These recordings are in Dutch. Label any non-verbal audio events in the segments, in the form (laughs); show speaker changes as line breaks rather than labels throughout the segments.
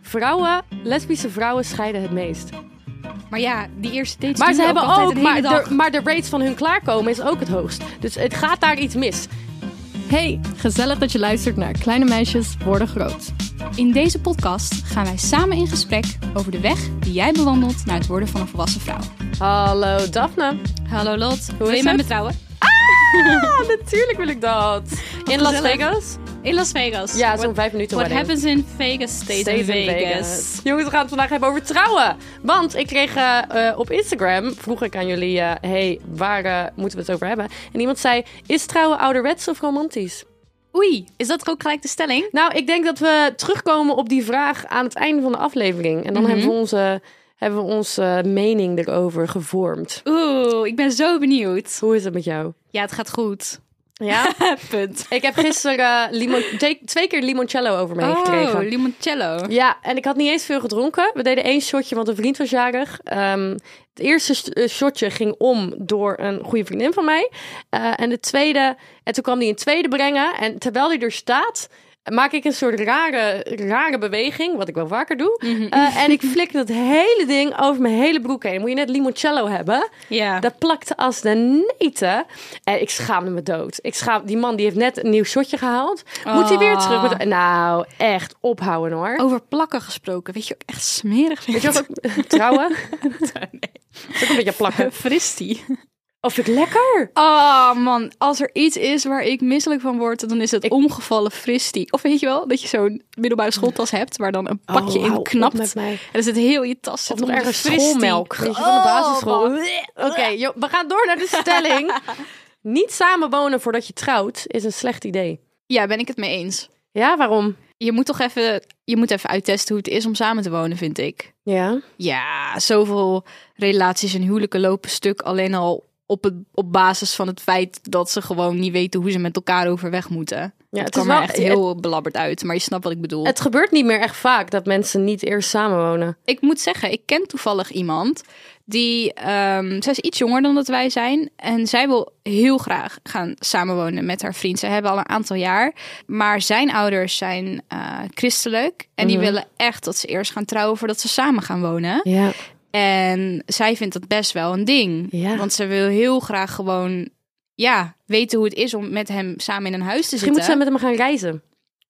Vrouwen, lesbische vrouwen scheiden het meest.
Maar ja, die eerste dates
Maar ze
duren
hebben
altijd
ook,
een hele
maar
dag.
de, maar de rates van hun klaarkomen is ook het hoogst. Dus het gaat daar iets mis.
Hey, gezellig dat je luistert naar Kleine Meisjes Worden Groot.
In deze podcast gaan wij samen in gesprek over de weg die jij bewandelt naar het worden van een volwassen vrouw.
Hallo Daphne.
Hallo Lot, wil
is
je met
het?
me trouwen?
Ah, natuurlijk wil ik dat. In Las
gezellig.
Vegas?
In Las Vegas.
Ja, zo'n
What-
vijf minuten
What
away.
happens in Vegas stays, in Vegas.
Jongens, we gaan het vandaag hebben over trouwen. Want ik kreeg eh, eh, op Instagram, vroeg ik aan jullie, eh, hey, waar eh, moeten we het over hebben? En iemand zei, is trouwen ouderwets of romantisch?
Oei, is dat ook gelijk de stelling?
Nou, ik denk dat we terugkomen op die vraag aan het einde van de aflevering. En dan hebben we onze, hebben we onze mening erover gevormd.
Oeh, ik ben zo benieuwd.
Hoe is het met jou?
Ja, het gaat goed.
Ja?
(laughs)
(laughs)
Punt.
ik heb gisteren eh, limon- twee- twee keer limoncello over me heen
Oh,
gekregen.
limoncello.
Ja, en ik had niet eens veel gedronken. We deden één shotje, want een vriend was jarig. Ehm, het eerste sh- eh, shotje ging om door een goede vriendin van mij. Eh, en de tweede, en toen kwam die een tweede brengen. En terwijl die er staat, maak ik een soort rare, rare beweging, wat ik wel vaker doe. Eh, en ik flik dat hele ding over mijn hele broek heen. Moet je net limoncello hebben?
Ja.
Dat plakte als de neten. En ik schaamde me dood. Ik schaam, die man die heeft net een nieuw shotje gehaald. Moet hij weer terug? Met, nou, echt ophouden hoor.
Oh,
Over plakken gesproken, weet je ook echt smerig
Weet je wat ook (laughs) trouwen? Is ook een beetje
(laughs)
plakken.
Fristie.
Of vind ik lekker? Ah,
Oh man, als er iets is waar ik misselijk van word, dan is het omgevallen fristie. Of weet je wel, dat je zo'n middelbare schooltas hebt waar dan een pakje
Mm. Oh, hou
in
op
knapt.
met mij.
En dan zit heel je tas zit
Of nog
onder
ergens
fristie.
schoolmelk. Oh, Weet je, van de basisschool. Oké, joh, we gaan door naar de (laughs) stelling. Niet samenwonen voordat je trouwt is een slecht idee.
Ja, ben ik het mee eens.
Ja, waarom?
Je moet toch even, je moet even uittesten hoe het is om samen te wonen, vind ik.
Ja.
Ja, zoveel relaties en huwelijken lopen stuk alleen al op, het, op basis van het feit dat ze gewoon niet weten hoe ze met elkaar overweg moeten.
Ja,
Ja,
het
het
is
kwam
wel-
er echt heel belabberd uit, maar je snapt wat ik bedoel.
Het gebeurt niet meer echt vaak dat mensen niet eerst samenwonen.
Ik moet zeggen, ik ken toevallig iemand die, ehm, zij is iets jonger dan dat wij zijn en zij wil heel graag gaan samenwonen met haar vriend. Ze hebben al een aantal jaar, maar zijn ouders zijn eh, christelijk en
Mhm.
die willen echt dat ze eerst gaan trouwen voordat ze samen gaan wonen.
Ja.
En zij vindt dat best wel een ding.
Ja.
Want ze wil heel graag gewoon ja, weten hoe het is om met hem samen in een huis te
Misschien
zitten.
moeten ze met hem gaan reizen.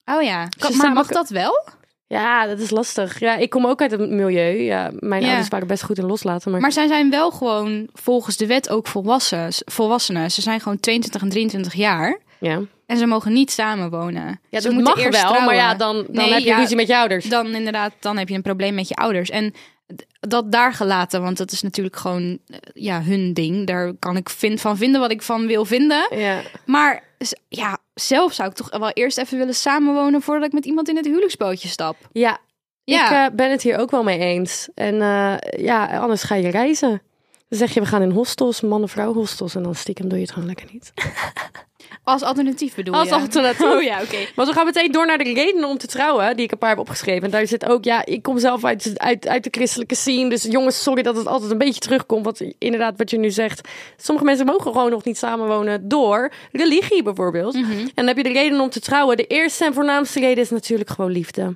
Oh ja,
Ze
kan, maar
samen-
mag dat wel?
Ja, dat is lastig. Ja, ik kom ook uit het milieu. Ja, mijn
Ja.
ouders waren best goed in loslaten. Maar,
Maar zij zijn wel gewoon volgens de wet ook volwassen, volwassenen. Ze zijn gewoon 22 en 23 jaar.
ja.
En ze mogen niet samenwonen.
Ja,
ze
dat
moeten
mag wel,
eerst
maar
trouwen.
ja, dan, dan
Nee,
heb je
ja,
ruzie met je ouders.
Dan inderdaad, dan heb je een probleem met je ouders. En d- dat daar gelaten, want dat is natuurlijk gewoon eh, ja, hun ding. Daar kan ik vind, van vinden wat ik van wil vinden.
Ja.
Maar z- ja, zelf zou ik toch wel eerst even willen samenwonen voordat ik met iemand in het huwelijksbootje stap.
Ja,
Ja.
ik eh, ben het hier ook wel mee eens. En eh, ja, anders ga je reizen. Dan zeg je, we gaan in hostels, man-vrouw hostels. En dan stiekem doe je het gewoon lekker niet.
Als alternatief bedoel je?
alternatief.
(laughs) Oh ja, oké.
Maar we gaan meteen door naar de redenen om te trouwen, die ik een paar heb opgeschreven. En daar zit ook, ja, ik kom zelf uit, uit, uit de christelijke scene. Dus jongens, sorry dat het altijd een beetje terugkomt. Want inderdaad, wat je nu zegt. Sommige mensen mogen gewoon nog niet samenwonen door religie bijvoorbeeld. En dan heb je de reden om te trouwen. De eerste en voornaamste reden is natuurlijk gewoon liefde.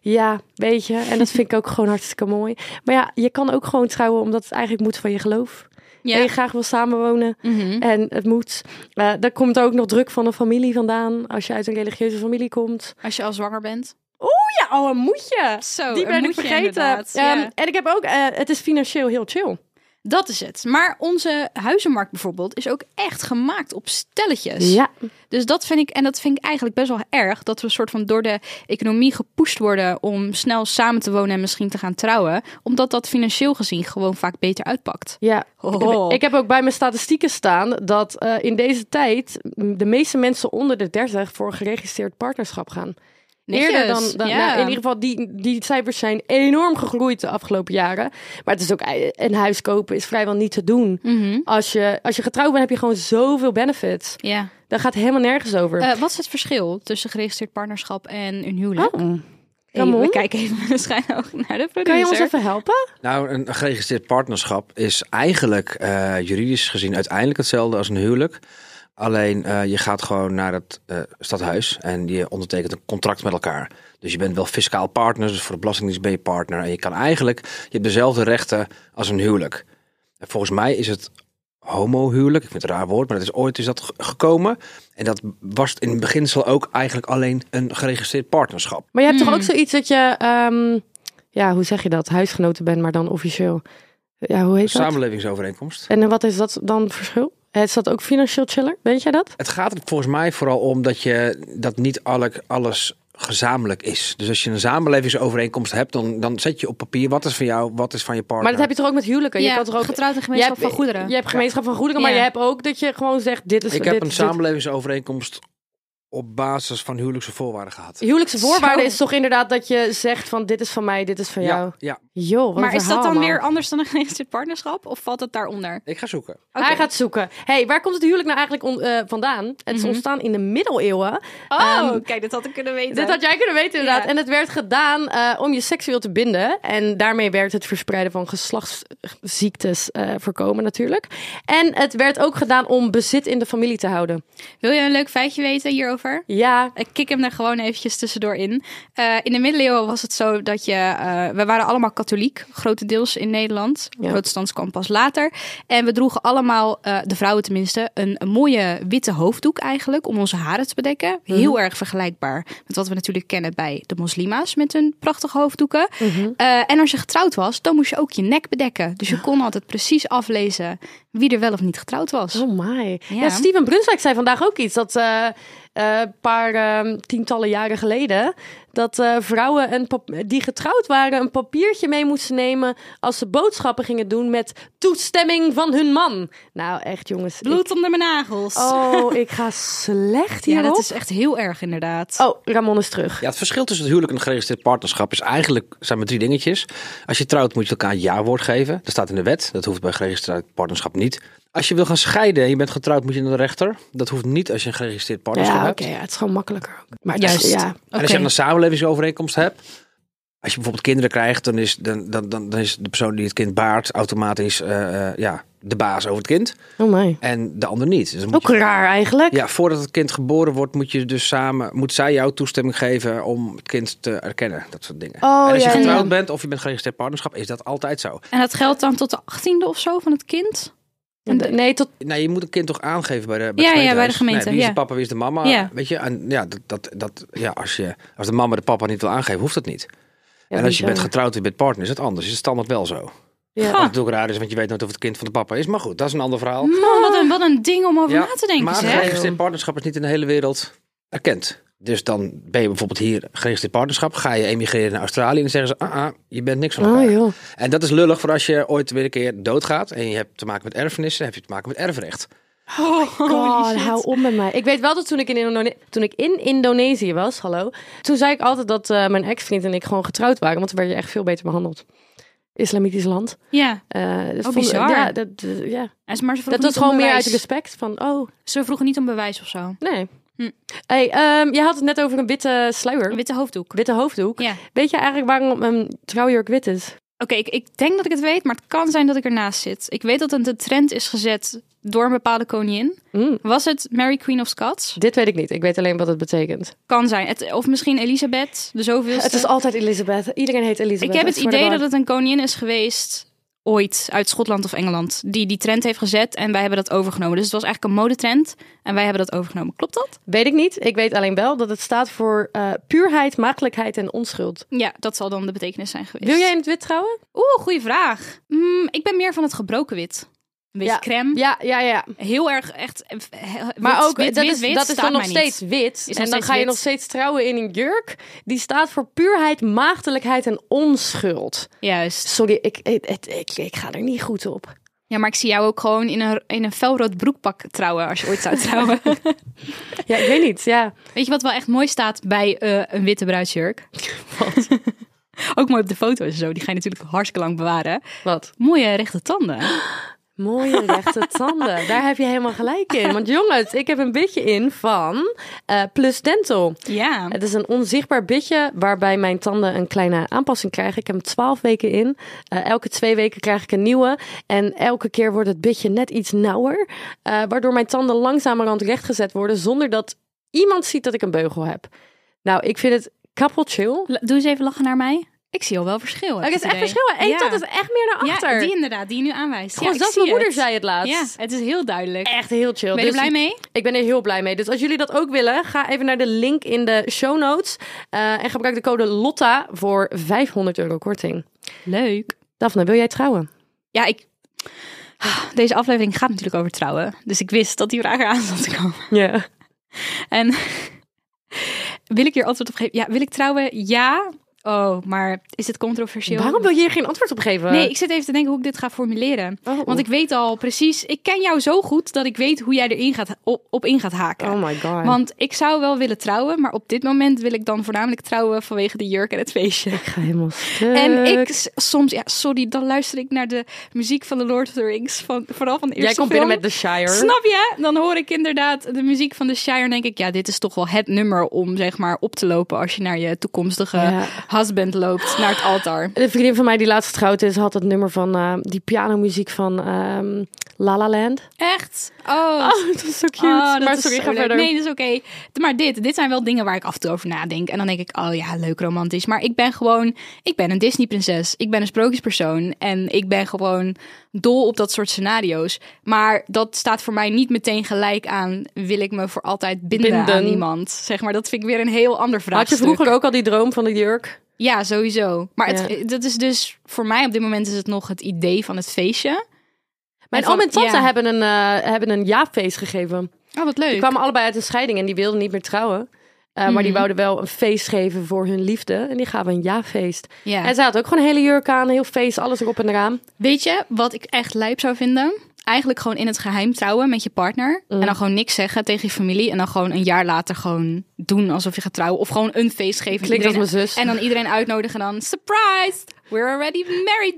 Ja, weet je. En dat vind ik ook gewoon hartstikke mooi. Maar ja, je kan ook gewoon trouwen omdat het eigenlijk moet van je geloof.
Ja.
En je graag wil samenwonen. En het moet. Eh daar komt ook nog druk van een familie vandaan. Als je uit een religieuze familie komt.
Als je al zwanger bent.
Oeh ja, oh een moedje.
Zo,
Die
een
ben ik
moedje
vergeten.
inderdaad, ja.
Ehm, En ik heb ook, eh, het is financieel heel chill.
Dat is het. Maar onze huizenmarkt bijvoorbeeld is ook echt gemaakt op stelletjes. Dus dat vind ik, en dat vind ik eigenlijk best wel erg, dat we een soort van door de economie gepusht worden om snel samen te wonen en misschien te gaan trouwen. Omdat dat financieel gezien gewoon vaak beter uitpakt.
Ja, ik, heb,
Oh.
ik heb ook bij mijn statistieken staan dat eh, in deze tijd de meeste mensen onder de 30 voor een geregistreerd partnerschap gaan.
Netjes,
Eerder dan, dan
ja.
nou, in ieder geval, die, die cijfers zijn enorm gegroeid de afgelopen jaren. Maar het is ook, eh, een huis kopen is vrijwel niet te doen.
Mhm.
Als je, als je getrouwd bent, heb je gewoon zoveel benefits.
Ja.
Daar gaat helemaal nergens over.
Eh, wat is het verschil tussen geregistreerd partnerschap en een huwelijk?
Oh,
Hey,
Ramon?
we kijken dus, even (laughs) met een schijnoog naar de producer.
kan je ons even helpen?
Nou, een geregistreerd partnerschap is eigenlijk eh, juridisch gezien uiteindelijk hetzelfde als een huwelijk. Alleen eh, je gaat gewoon naar het eh, stadhuis en je ondertekent een contract met elkaar. Dus je bent wel fiscaal partner, dus voor de Belastingdienst ben je partner. En je kan eigenlijk, je hebt dezelfde rechten als een huwelijk. En volgens mij is het homohuwelijk, ik vind het een raar woord, maar dat is ooit is dat ge- gekomen. En dat was in het beginsel ook eigenlijk alleen een geregistreerd partnerschap.
Maar je hebt
Hmm.
toch ook zoiets dat je, ehm, ja, hoe zeg je dat? Huisgenoten bent, maar dan officieel. Ja, hoe
Een
heet dat?
samenlevingsovereenkomst.
En wat is dat dan verschil? Is dat ook financieel chiller? Weet jij dat?
Het gaat er volgens mij vooral om dat, je, dat niet alle- alles gezamenlijk is. Dus als je een samenlevingsovereenkomst hebt, dan, dan zet je op papier wat is van jou, wat is van je partner.
Maar dat heb je toch ook met huwelijken?
Ja,
je kan toch ook
getrouwd en
je
gemeenschap
hebt,
van goederen.
Je hebt gemeenschap van goederen, maar
Ja.
je hebt ook dat je gewoon zegt: dit is
Ik heb
dit
een
is-
samenlevingsovereenkomst op basis van huwelijkse voorwaarden gehad.
dit. Huwelijkse voorwaarde
Zo.
is toch inderdaad dat je zegt: van dit is van mij, dit is van jou.
Ja, ja.
Joh, wat
Maar
een
is dat
verhaal,
dan
man.
weer anders dan een geregistreerd partnerschap? Of valt het daaronder?
Ik ga zoeken.
Oké.
Hij gaat zoeken. hey, waar komt het huwelijk nou eigenlijk on- eh, vandaan? Het is ontstaan in de middeleeuwen.
Mhm. Oh,
Ehm,
kijk, dit had ik kunnen weten.
Dit had jij kunnen weten inderdaad.
Ja.
En het werd gedaan eh, om je seksueel te binden. En daarmee werd het verspreiden van geslachtsziektes eh, voorkomen natuurlijk. En het werd ook gedaan om bezit in de familie te houden.
Wil je een leuk feitje weten hierover?
Ja,
Ik kik hem er gewoon eventjes tussendoor in. Eh, in de middeleeuwen was het zo dat je... eh, we waren allemaal katholiek, grotendeels in Nederland.
Ja.
Protestants kwam pas later. En we droegen allemaal, eh, de vrouwen tenminste, een, een mooie witte hoofddoek eigenlijk... om onze haren te bedekken. Heel erg vergelijkbaar met wat we natuurlijk kennen bij de moslima's... met hun prachtige hoofddoeken. Eh, en als je getrouwd was, dan moest je ook je nek bedekken. Dus je kon altijd precies aflezen wie er wel of niet getrouwd was.
Oh my.
Ja.
Ja, Steven Brunswijk zei vandaag ook iets. Dat eh, eh, een paar eh, tientallen jaren geleden... dat eh, vrouwen een pap- die getrouwd waren... een papiertje mee moesten nemen... als ze boodschappen gingen doen met toestemming van hun man. Nou, echt jongens. ik-
Bloed onder mijn nagels.
oh, ik ga slecht
ja,
hierop.
dat is echt heel erg inderdaad.
Oh, Ramon is terug.
Ja, het verschil tussen het huwelijk en een geregistreerd partnerschap is eigenlijk, zijn maar drie dingetjes. Als je trouwt moet je elkaar een jawoord geven. Dat staat in de wet. Dat hoeft bij een geregistreerd partnerschap niet. Als je wil gaan scheiden en je bent getrouwd moet je naar de rechter. Dat hoeft niet als je een geregistreerd
Ja,
partnerschap
oké.
hebt.
ja, het is gewoon makkelijker. ook. Maar
Juist.
dat- ja.
En als je dan een samenlevingsovereenkomst hebt. Als je bijvoorbeeld kinderen krijgt, dan is, dan, dan, dan, dan is de persoon die het kind baart automatisch eh, eh, ja, de baas over het kind.
Oh my.
En de ander niet. Dus dan moet
Ook
je-
raar eigenlijk.
ja, voordat het kind geboren wordt, moet, je dus samen, moet zij jou toestemming geven om het kind te erkennen. Dat soort dingen.
Oh,
en als
ja,
je
ja.
getrouwd bent of je bent geregistreerd partnerschap, is dat altijd zo.
En dat geldt dan tot de 18e of zo van het kind?
Nee, tot...
Nou, je moet een kind toch aangeven bij de, bij
Ja,
het
ja, bij de
gemeentehuis.
gemeente,
Nee, wie is
ja.
de papa, wie is de mama?
Ja.
Weet je, en ja, dat, dat, dat, ja als, je, als de mama de papa niet wil aangeven, hoeft dat niet.
Ja,
en als je
bizar.
bent getrouwd en je bent partner, is het anders. Is het standaard wel zo.
Ja.
Wat natuurlijk raar is, want je weet nooit of het kind van de papa is. Maar goed, dat is een ander verhaal.
Man, wat een, wat een ding om over na te denken,
maar
zeg.
geregistreerd partnerschap is niet in de hele wereld erkend. Dus dan ben je bijvoorbeeld hier geregistreerd partnerschap, ga je emigreren naar Australië en dan zeggen ze, ah, ah, je bent niks van elkaar.
Oh joh.
En dat is lullig voor als je ooit weer een keer doodgaat en je hebt te maken met erfenissen, heb je te maken met erfrecht.
God, hou op met mij. Ik weet wel dat toen ik in, Indone- toen ik in Indonesië was, hallo, toen zei ik altijd dat eh, mijn ex-vriend en ik gewoon getrouwd waren, want dan werd je echt veel beter behandeld. Islamitisch land.
Ja,
Eh, dat
Oh,
vond-
bizar.
Ja, dat, eh, ja.
en ze- maar ze vroegen
dat
niet
was
om
gewoon meer
bewijs.
uit respect van, oh,
Ze vroegen niet om bewijs of zo.
nee.
Hm.
Hey, ehm, jij had het net over een witte sluier,
Een witte hoofddoek.
witte hoofddoek.
Ja. Oké,
Weet je eigenlijk waarom een trouwjurk wit is?
ik, ik denk dat ik het weet, maar het kan zijn dat ik ernaast zit. Ik weet dat het een trend is gezet door een bepaalde koningin.
Hm,
Was het Mary Queen of Scots?
Dit weet ik niet. Ik weet alleen wat het betekent.
Kan zijn. Het, of misschien Elisabeth, de zoveelste.
Het is altijd Elisabeth. Iedereen heet Elisabeth.
Ik heb het
I swear to
idee
God.
dat het een koningin is geweest ooit uit Schotland of Engeland die die trend heeft gezet en wij hebben dat overgenomen. Dus het was eigenlijk een modetrend en wij hebben dat overgenomen. Klopt dat?
Weet ik niet. Ik weet alleen wel dat het staat voor eh, puurheid, maagdelijkheid en onschuld.
Ja, dat zal dan de betekenis zijn geweest.
Wil jij in het wit trouwen?
Oeh, goede vraag. Mm, ik ben meer van het gebroken wit. Een beetje
Ja.
crème.
Ja, ja, ja.
Heel erg echt. eh, he- wit,
Maar ook,
wit,
dat,
wit,
is,
wit
dat is
staat
dan nog
mij
steeds
niet.
wit.
nog
en dan
steeds
ga je
wit.
nog steeds trouwen in een jurk. Die staat voor puurheid, maagdelijkheid en onschuld.
Juist.
Sorry, ik, ik, ik, ik, ik ga er niet goed op.
Ja, maar ik zie jou ook gewoon in een, in een felrood broekpak trouwen als je ooit
(laughs)
zou trouwen.
Ja, ik weet niet. Ja.
Weet je wat wel echt mooi staat bij eh, een witte
(laughs)
bruidsjurk? (laughs) ook mooi op de foto's en zo. Die ga je natuurlijk hartstikke lang bewaren.
Wat?
Mooie rechte
(gasps)
tanden.
Mooie rechte tanden. Daar heb je helemaal gelijk in. Want jongens, ik heb een bitje in van eh, Plus Dental.
Ja.
Het is een onzichtbaar bitje waarbij mijn tanden een kleine aanpassing krijgen. Ik heb hem 12 weken in. Eh, elke twee weken krijg ik een nieuwe. En elke keer wordt het bitje net iets nauwer. eh, waardoor mijn tanden langzamerhand rechtgezet worden zonder dat iemand ziet dat ik een beugel heb. Nou, ik vind het kappel chill.
La- Doe eens even lachen naar mij. Ik zie al wel verschil. heb
Er
ik
is
het
echt
idee.
verschil. Eén
Ja.
tand is echt meer naar achter.
Ja, die inderdaad, die je nu aanwijst.
Gewoon
ja,
dat
ik zie
mijn moeder
het.
zei het laatst.
Ja, het is heel duidelijk.
Echt heel chill.
Ben je er
Dus-
blij mee?
Ik ben er heel blij mee. Dus als jullie dat ook willen, ga even naar de link in de show notes. eh, en gebruik de code LOTTA voor 500 euro korting.
Leuk.
Daphne, wil jij trouwen?
Ja, ik... Ah, Deze aflevering gaat natuurlijk over trouwen. Dus ik wist dat die vraag eraan zat te komen.
Ja.
En (laughs) wil ik hier antwoord op geven? Ja, wil ik trouwen? Ja. Oh, maar is het controversieel?
Waarom wil je hier geen antwoord op geven? Oh.
Nee, ik zit even te denken hoe ik dit ga formuleren. Want ik weet al precies... Ik ken jou zo goed dat ik weet hoe jij erin gaat, op, op in gaat haken.
Oh my god.
Want ik zou wel willen trouwen, maar op dit moment wil ik dan voornamelijk trouwen vanwege de jurk en het feestje.
ik ga helemaal stuk.
En ik s- soms, ja, sorry, dan luister ik naar de muziek van de Lord of the Rings, van, vooral van de eerste
Jij komt
film.
binnen met The Shire.
Snap je? Dan hoor ik inderdaad de muziek van The Shire en denk ik, ja, dit is toch wel het nummer om zeg maar op te lopen als je naar je toekomstige
Ja.
husband loopt, naar het altaar.
Een vriendin van mij die laatst getrouwd is, had het nummer van eh, die pianomuziek van ehm La La Land.
Echt? Oh,
Oh, dat is zo cute.
Oh, dat
maar
is
sorry,
zo
ga
leuk.
verder.
Nee, dat is oké. Maar dit, dit zijn wel dingen waar ik af en toe over nadenk. En dan denk ik, oh ja, leuk romantisch. Maar ik ben gewoon, ik ben een Disney-prinses. Ik ben een sprookjespersoon. En ik ben gewoon dol op dat soort scenario's. Maar dat staat voor mij niet meteen gelijk aan... wil ik me voor altijd binden,
Binden.
aan iemand. Zeg maar, dat vind ik weer een heel ander
Had je
vraagstuk.
vroeger ook al die droom van de jurk?
Ja, sowieso. Maar het-
Ja.
dat is dus, voor mij op dit moment is het nog het idee van het feestje.
Mijn
En van-
oom en tante
ja.
hebben een, eh, hebben een jaarfeest gegeven.
Oh, wat leuk.
Die kwamen allebei uit een scheiding en die wilden niet meer trouwen. Eh, Maar die wouden wel een feest geven voor hun liefde. En die gaven een jaarfeest.
Ja.
En zij had ook gewoon een hele jurk aan, heel feest, alles erop en eraan.
Weet je wat ik echt lijp zou vinden? Eigenlijk gewoon in het geheim trouwen met je partner.
Mm.
En dan gewoon niks zeggen tegen je familie. En dan gewoon een jaar later gewoon doen alsof je gaat trouwen. Of gewoon een feest geven.
Klinkt
Iedereen-
als mijn zus.
En dan iedereen uitnodigen en dan... Surprise! We're already married,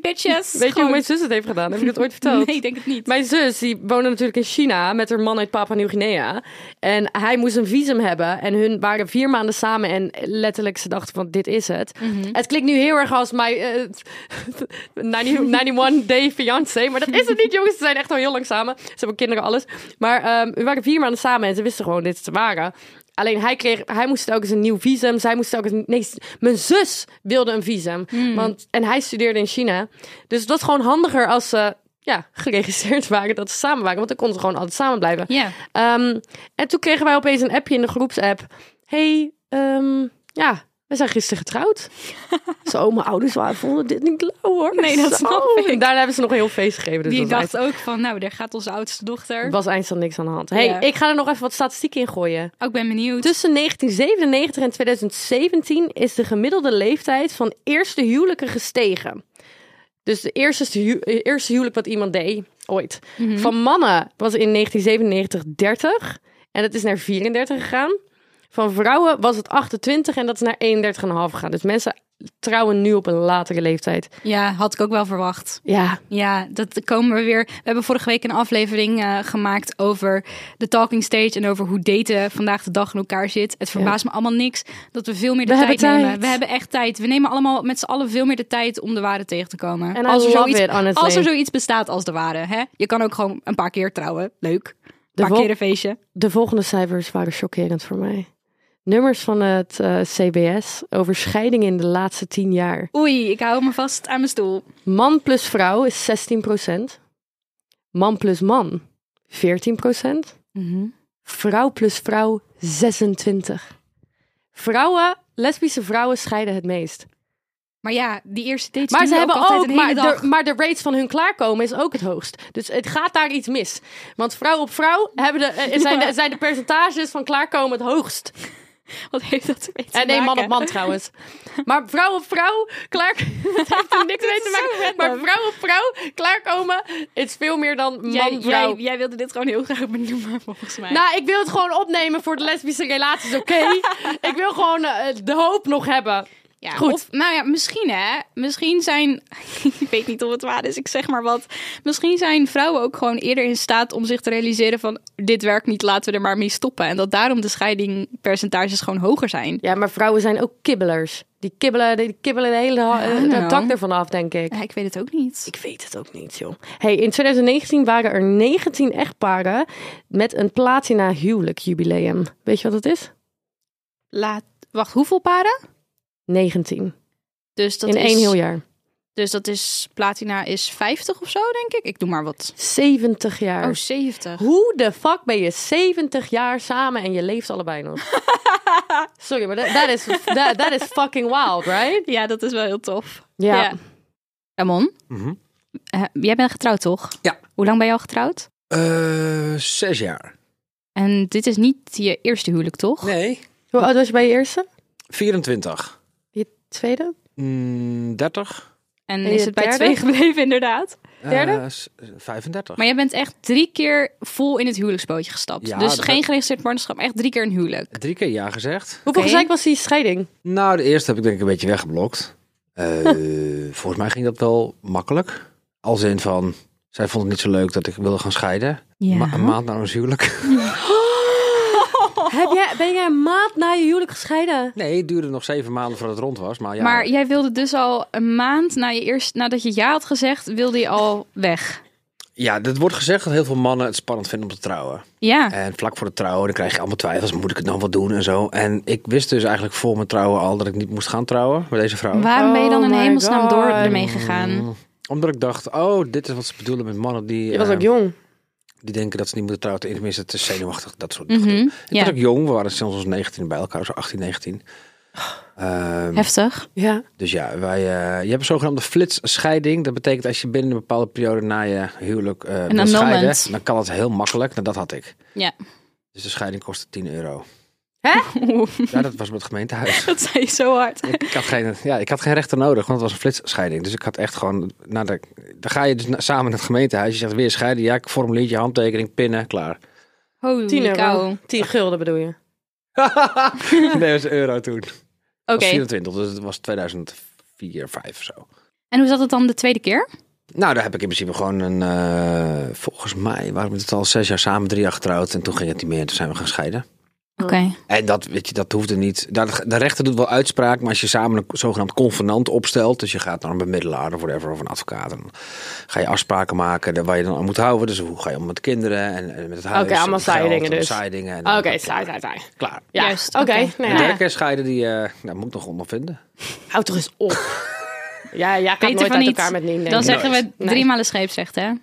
(laughs) Weet
bitches!
je hoe
Gewoon-
mijn zus het heeft gedaan? Heb ik (laughs) het ooit verteld?
Nee, ik denk het niet.
Mijn zus, die woonde natuurlijk in China met haar man uit Papua Nieuw-Guinea. En hij moest een visum hebben. En hun waren vier maanden samen. En letterlijk, ze dachten van, dit is het. Het klinkt nu heel erg als mijn eh, (laughs) 90 91 day fiancé. Maar dat is het niet, jongens. Ze zijn echt al heel lang samen. Ze hebben kinderen, alles. Maar ehm, we waren vier maanden samen en ze wisten gewoon dit is te waren. Alleen hij, kreeg, hij moest telkens een nieuw visum. Zij moest telkens... Nee, s- mijn zus wilde een visum. Want, en hij studeerde in China. Dus dat was gewoon handiger als ze ja, (laughs) geregistreerd waren. Dat ze samen waren. Want dan konden ze gewoon altijd samen blijven.
Ja.
Ehm, en toen kregen wij opeens een appje in de groepsapp. hey, ehm, ja, we zijn gisteren
(laughs)
getrouwd. Zo, mijn ouders waren, vonden dit niet lauw hoor.
Nee, dat
Zo.
snap ik.
En daarna hebben ze nog een heel feest gegeven. Dus
Die
dat was
dacht ook van, nou, daar gaat onze oudste dochter.
er was eindstand niks aan de hand. Hey,
Ja.
ik ga er nog even wat statistieken in gooien.
Oh, ik ben benieuwd.
Tussen 1997 en 2017 is de gemiddelde leeftijd van eerste huwelijken gestegen. Dus de eerste, stu- eh, eerste huwelijk wat iemand deed ooit. Van mannen was in 1997 30 en dat is naar 34 gegaan. Van vrouwen was het 28 en dat is naar 31,5 gegaan. Dus mensen trouwen nu op een latere leeftijd.
Ja, had ik ook wel verwacht.
Ja,
Ja, dat komen we weer. We hebben vorige week een aflevering eh, gemaakt over de talking stage en over hoe daten vandaag de dag in elkaar zit. Het verbaast me allemaal niks dat we veel meer de
We
tijd
hebben
nemen.
tijd.
We hebben echt tijd. We nemen allemaal met z'n allen veel meer de tijd om de waarde tegen te komen.
And I
als er,
love
zoiets,
it, honestly.
als er zoiets bestaat als de waarde. Hè? Je kan ook gewoon een paar keer trouwen. Leuk. Een paar
vol-
keer een feestje.
de volgende cijfers waren chockerend voor mij. Nummers van het eh, CBS over scheidingen in de laatste 10 jaar.
Oei, ik hou me vast aan mijn stoel.
Man plus vrouw is 16%. Man plus man 14%.
Mhm.
Vrouw plus vrouw 26%. Vrouwen, lesbische vrouwen scheiden het meest.
Maar ja, die eerste dates
Maar ze
duren
hebben
ook altijd
ook,
een
maar
hele dag.
de, maar de rates van hun klaarkomen is ook het hoogst. Dus het gaat daar iets
(laughs)
mis. Want vrouw op vrouw hebben de, eh, zijn, de, zijn de percentages van klaarkomen het hoogst.
Wat heeft dat ermee te
En Eh, nee, man
maken?
op man trouwens. Maar vrouw op vrouw, klaar. (laughs) Dat heeft er niks mee te maken. Maar vrouw op vrouw, klaarkomen. Het is veel meer dan
Jij,
man,
jij,
vrouw.
jij wilde dit gewoon heel graag benoemen, volgens mij.
Nou, ik wil het gewoon opnemen voor de lesbische relaties, oké? (laughs) ik wil gewoon eh, de hoop nog hebben.
Ja,
Goed.
Of, nou ja, misschien hè. Misschien zijn. (laughs) ik weet niet of het waar is, ik zeg maar wat. Misschien zijn vrouwen ook gewoon eerder in staat om zich te realiseren van. Dit werkt niet, laten we er maar mee stoppen. En dat daarom de scheidingpercentages gewoon hoger zijn.
Ja, maar vrouwen zijn ook kibbelers. Die kibbelen, die kibbelen de hele ha- eh,
nou.
het dak ervan af, denk ik.
Ja, ik weet het ook niet.
Ik weet het ook niet, joh. Hey, in 2019 waren er 19 echtparen met een platina huwelijk jubileum. Weet je wat het is?
Laat, wacht, hoeveel paren?
19.
Dus dat
in
is,
één heel jaar.
Dus dat is. Platina is 50 of zo, denk ik. Ik doe maar wat.
70 jaar.
Oh, 70.
Hoe de fuck ben je 70 jaar samen en je leeft allebei (laughs) nog? Sorry, maar dat dat is, that, that is fucking wild, right?
Ja, dat is wel heel tof.
Ja.
Ramon,
Mhm.
eh, jij bent getrouwd toch?
Ja.
Hoe lang ben je al getrouwd?
Eh, zes jaar.
En dit is niet je eerste huwelijk, toch?
Nee.
Hoe oud was je bij je eerste?
24.
Je tweede?
Mm, 30.
En
En
is
je
het bij
derde?
twee gebleven, inderdaad.
Derde?
Eh, s- 35.
Maar jij bent echt drie keer vol in het huwelijksbootje gestapt.
Ja,
dus
dat-
geen geregistreerd partnerschap, maar echt drie keer een huwelijk.
Drie keer ja gezegd.
Hoeveel
Oké.
gezeik was die (laughs) scheiding?
Nou, de eerste heb ik denk ik een beetje weggeblokt. Eh,
(laughs)
volgens mij ging dat wel makkelijk. Als in van, zij vond het niet zo leuk dat ik wilde gaan scheiden.
Ja.
Ma- een maand na ons huwelijk. (laughs)
Heb jij, ben jij een maand na je huwelijk gescheiden?
Nee, het duurde nog zeven maanden voordat het rond was. Maar ja,
Maar jij wilde dus al een maand na je eerst, nadat je ja had gezegd, wilde je al weg.
ja, dat wordt gezegd dat heel veel mannen het spannend vinden om te trouwen.
Ja.
En vlak voor de trouwen, dan krijg je allemaal twijfels. Moet ik het nou wel doen en zo? En ik wist dus eigenlijk voor mijn trouwen al dat ik niet moest gaan trouwen met deze vrouw. Mm,
Waarom ben je dan in
Oh my
hemelsnaam
God.
door ermee gegaan?
Omdat ik dacht, oh, dit is wat ze bedoelen met mannen die...
Je was
eh,
ook jong.
die denken dat ze niet moeten trouwen. Tenminste, het is zenuwachtig, dat soort
Mhm,
dingen. Ik
ja.
was ook jong, we waren sinds ons 19 bij elkaar, zo 18, 19. Ehm,
Heftig.
Ja.
dus ja, wij, eh, je hebt een zogenaamde flitsscheiding. Dat betekent als je binnen een bepaalde periode na je huwelijk eh
Een
wilt scheiden,
annulment.
dan kan dat heel makkelijk. Nou, dat had ik.
Ja.
Dus de scheiding kostte 10 euro.
Oeh,
Ja, dat was met het gemeentehuis.
dat zei je zo hard.
ik, ik had geen, ja, ik had geen rechter nodig, want het was een flitsscheiding. Dus ik had echt gewoon... Nou, dan, dan ga je dus na- samen naar het gemeentehuis. Je zegt weer scheiden. Ja, ik formulier je handtekening, pinnen, klaar.
Holy
10
cow.
euro.
Oké.
10 gulden bedoel je?
nee, dat was een euro toen. Ik was 24, dus het was 2004, 5 of zo.
En hoe zat het dan de tweede keer?
Nou, daar heb ik in principe gewoon een. eh, volgens mij waren we het al zes jaar samen, drie jaar getrouwd. En toen ging het niet meer, toen zijn we gaan scheiden.
Oké.
En dat, weet je, dat hoefde niet. Daar- De rechter doet wel uitspraak, maar als je samen een zogenaamd convenant opstelt. Dus je gaat naar een bemiddelaar of whatever, of een advocaat. En dan ga je afspraken maken daar waar je dan aan moet houden. Dus hoe ga je om met kinderen en, en met het huis.
Oké, allemaal
en met
saaie
geld en
dingen
met
dus.
Saaie dingen. en
Oké,
dan-
saai, saai, saai.
Klaar.
Ja,
Juist,
oké.
oké.
nou
De
ja.
derde keer scheiden, die eh, nou, moet ik nog ondervinden.
Houd er eens (laughs) op. Ja, ja, gaat
Beter
nooit
van
uit
niet.
elkaar met Nien. denk
Dan
ik.
zeggen we
Nooit.
drie
Nee.
malen scheepsrecht, hè?
Ja,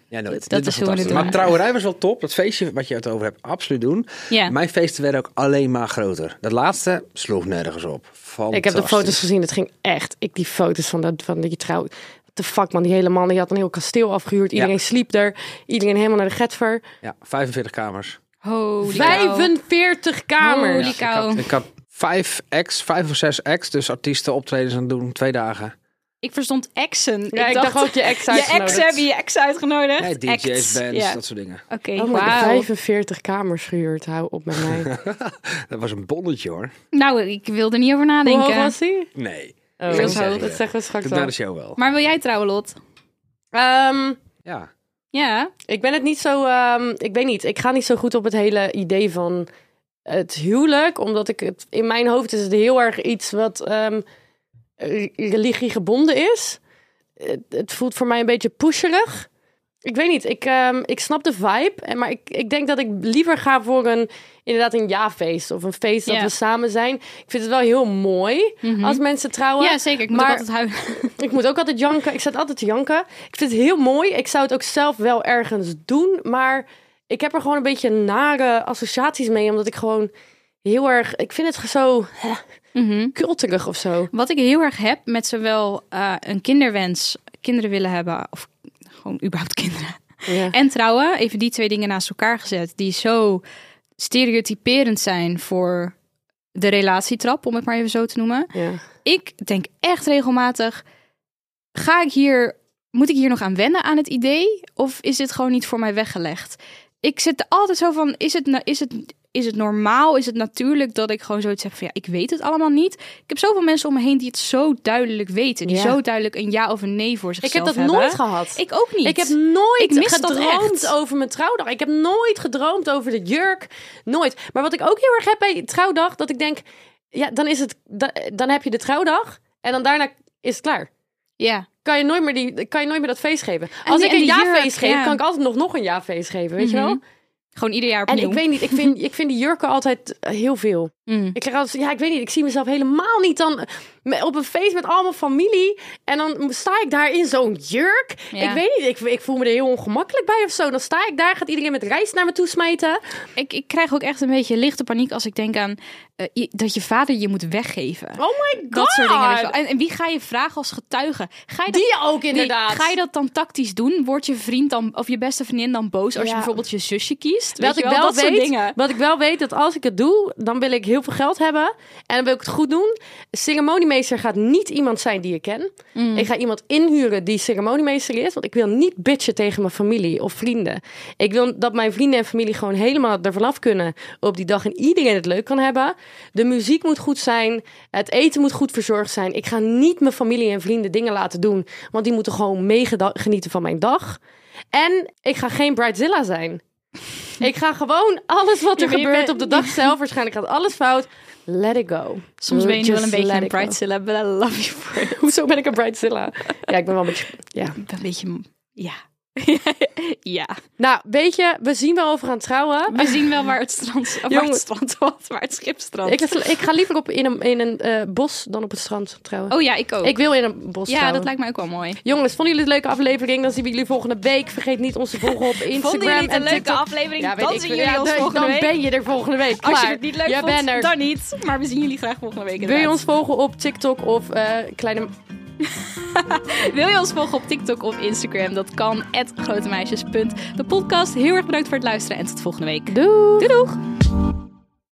Dat is
nooit. Dit was
hoe we het
fantastisch.
doen.
Maar trouwerij was wel top. Dat feestje wat je het over hebt, absoluut doen.
Ja.
Mijn feesten werden ook alleen maar groter. Dat laatste sloeg nergens op.
Ik heb de
Fantastisch.
foto's gezien, het ging echt. Ik die foto's van, dat, van die trouw. What the fuck man, die hele man die had een heel kasteel afgehuurd. Iedereen sliep er. Iedereen helemaal naar de getver.
Ja, 45 kamers.
Holy cow.
45 kamers.
Holy
Ik had,
cow.
ik had vijf ex, vijf of zes ex. Dus artiesten optredens aan het doen. Twee dagen.
Ik verstond exen.
Ja, ik dacht, ook je ex
je ex
uitgenodigd.
hebben je ex uitgenodigd.
Nee, DJ's,
Acts.
bands,
Ja.
dat soort dingen. (laughs)
Oké,
Oh my,
wauw.
45 kamers gehuurd, hou op met mij.
Dat was een bonnetje hoor.
Nou, ik wil er niet over
Hoe
nadenken.
hoog was die?
Nee.
Oh,
Heel
dat
hoog.
zeggen we straks
Na
wel.
de show wel.
Maar wil jij trouwen, Lot?
Ehm,
Ja.
Ja.
ik ben het niet zo... ehm, ik weet niet, ik ga niet zo goed op het hele idee van het huwelijk. Omdat ik het... In mijn hoofd is het heel erg iets wat ehm, re- religie gebonden is. Het, het voelt voor mij een beetje pusherig. Ik weet niet, ik, ehm, ik snap de vibe. en- Maar ik, ik denk dat ik liever ga voor een... Inderdaad een ja-feest of een feest dat
Ja. Mhm.
we samen zijn. Ik vind het wel heel mooi als mensen trouwen.
Ja, zeker. Ik moet
Maar-
ook altijd huilen.
Ik moet ook altijd janken. Ik zat altijd te janken. Ik vind het heel mooi. Ik zou het ook zelf wel ergens doen. Maar ik heb er gewoon een beetje nare associaties mee. Omdat ik gewoon heel erg... Ik vind het zo hè,
Mhm.
kulterig of zo.
Wat ik heel erg heb met zowel eh, een kinderwens, kinderen willen hebben, of gewoon überhaupt kinderen,
Ja.
en trouwen, even die twee dingen naast elkaar gezet, die zo stereotyperend zijn voor de relatietrap, om het maar even zo te noemen. Ik denk echt regelmatig, ga ik hier, moet ik hier nog aan wennen aan het idee? Of is dit gewoon niet voor mij weggelegd? Ik zit er altijd zo van, is het, na- is het, is het normaal, is het natuurlijk dat ik gewoon zoiets zeg van, ja, ik weet het allemaal niet. Ik heb zoveel mensen om me heen die het zo duidelijk weten. Die
Ja.
zo duidelijk een ja of een nee voor
Ik
zichzelf
heb dat
hebben.
nooit gehad.
Ik ook niet.
Ik heb nooit
Ik mis dat
gedroomd
echt.
over mijn trouwdag. Ik heb nooit gedroomd over de jurk. Nooit. Maar wat ik ook heel erg heb bij trouwdag, dat ik denk, ja, dan is het, da- dan heb je de trouwdag en dan daarna is het klaar.
Ja.
Kan je nooit meer, die, kan je nooit meer dat feest geven.
En
Als
die-
ik
en
een
die
jaarfeest
jurk,
geef,
ja.
kan ik altijd nog, nog een jaarfeest geven, weet je wel?
Mhm. Gewoon ieder jaar
En
opnieuw.
ik weet niet, ik vind, ik vind die jurken altijd eh, heel veel.
Mm.
Ik zeg altijd, ja, ik weet niet, ik zie mezelf helemaal niet dan eh, me- op een feest met allemaal familie. En dan sta ik daar in zo'n jurk.
Ja.
Ik weet niet, ik, ik voel me er heel ongemakkelijk bij of zo. Dan sta ik daar, gaat iedereen met rijst naar me toe smijten.
Ik, ik krijg ook echt een beetje lichte paniek als ik denk aan eh, je- dat je vader je moet weggeven.
Oh my god!
dat soort dingen. weet je wel. En, en wie ga je vragen als getuige? Ga je dat,
Die ook
wie-
inderdaad.
ga je dat dan tactisch doen? Wordt je vriend dan of je beste vriendin dan boos als je
Ja.
bijvoorbeeld je zusje kiest? Weet
Wat
je
ik,
wel,
wel
dat soort
weet,
dingen.
wat ik wel weet, dat als ik het doe, dan wil ik heel veel geld hebben. En dan wil ik het goed doen. Ceremoniemeester gaat niet iemand zijn die ik ken.
Mm.
Ik ga iemand inhuren die ceremoniemeester is. Want ik wil niet bitchen tegen mijn familie of vrienden. Ik wil dat mijn vrienden en familie gewoon helemaal ervan af kunnen op die dag. En iedereen het leuk kan hebben. De muziek moet goed zijn. Het eten moet goed verzorgd zijn. Ik ga niet mijn familie en vrienden dingen laten doen. Want die moeten gewoon meegenieten van mijn dag. En ik ga geen bridezilla
(laughs)
zijn. Ik ga gewoon alles wat er
Ja, maar je
gebeurt
bent-
op de dag zelf. Waarschijnlijk gaat alles fout. Let it go.
Soms ben je wel
Just
een beetje
let
een
it go.
bridezilla, but I love you for it.
(laughs) Hoezo ben ik een bridezilla? Ja, ik ben wel een beetje... Ja.
Ik ben Een beetje,
(laughs)
ja. ja.
Nou, weet je, we zien wel over gaan trouwen.
We zien wel waar het strand, of waar het
Jongens.
strand was, waar het schip strandt.
Ik, ik ga liever op, in een, in een eh, bos dan op het strand trouwen.
oh ja, ik ook.
Ik wil in een bos
ja,
trouwen.
dat lijkt mij ook wel mooi.
Jongens, vonden jullie het een leuke aflevering? Dan zien we jullie volgende week. Vergeet niet ons te volgen op Instagram
Vonden jullie het
en
een leuke
TikTok.
aflevering?
Ja, weet
dan
ik
zien
veel.
jullie
Ja,
ons
dan-
volgende week.
Dan ben je er volgende week.
Als je
Klaar.
het niet leuk
Jij
vond,
bent er.
dan niet. Maar we zien jullie graag volgende week.
Wil je
inderdaad.
ons volgen op TikTok of eh, kleine...
Wil je ons volgen op TikTok of Instagram? Dat kan, @grotemeisjes. De podcast. Heel erg bedankt voor het luisteren en tot volgende week.
Doei!
Doei doeg!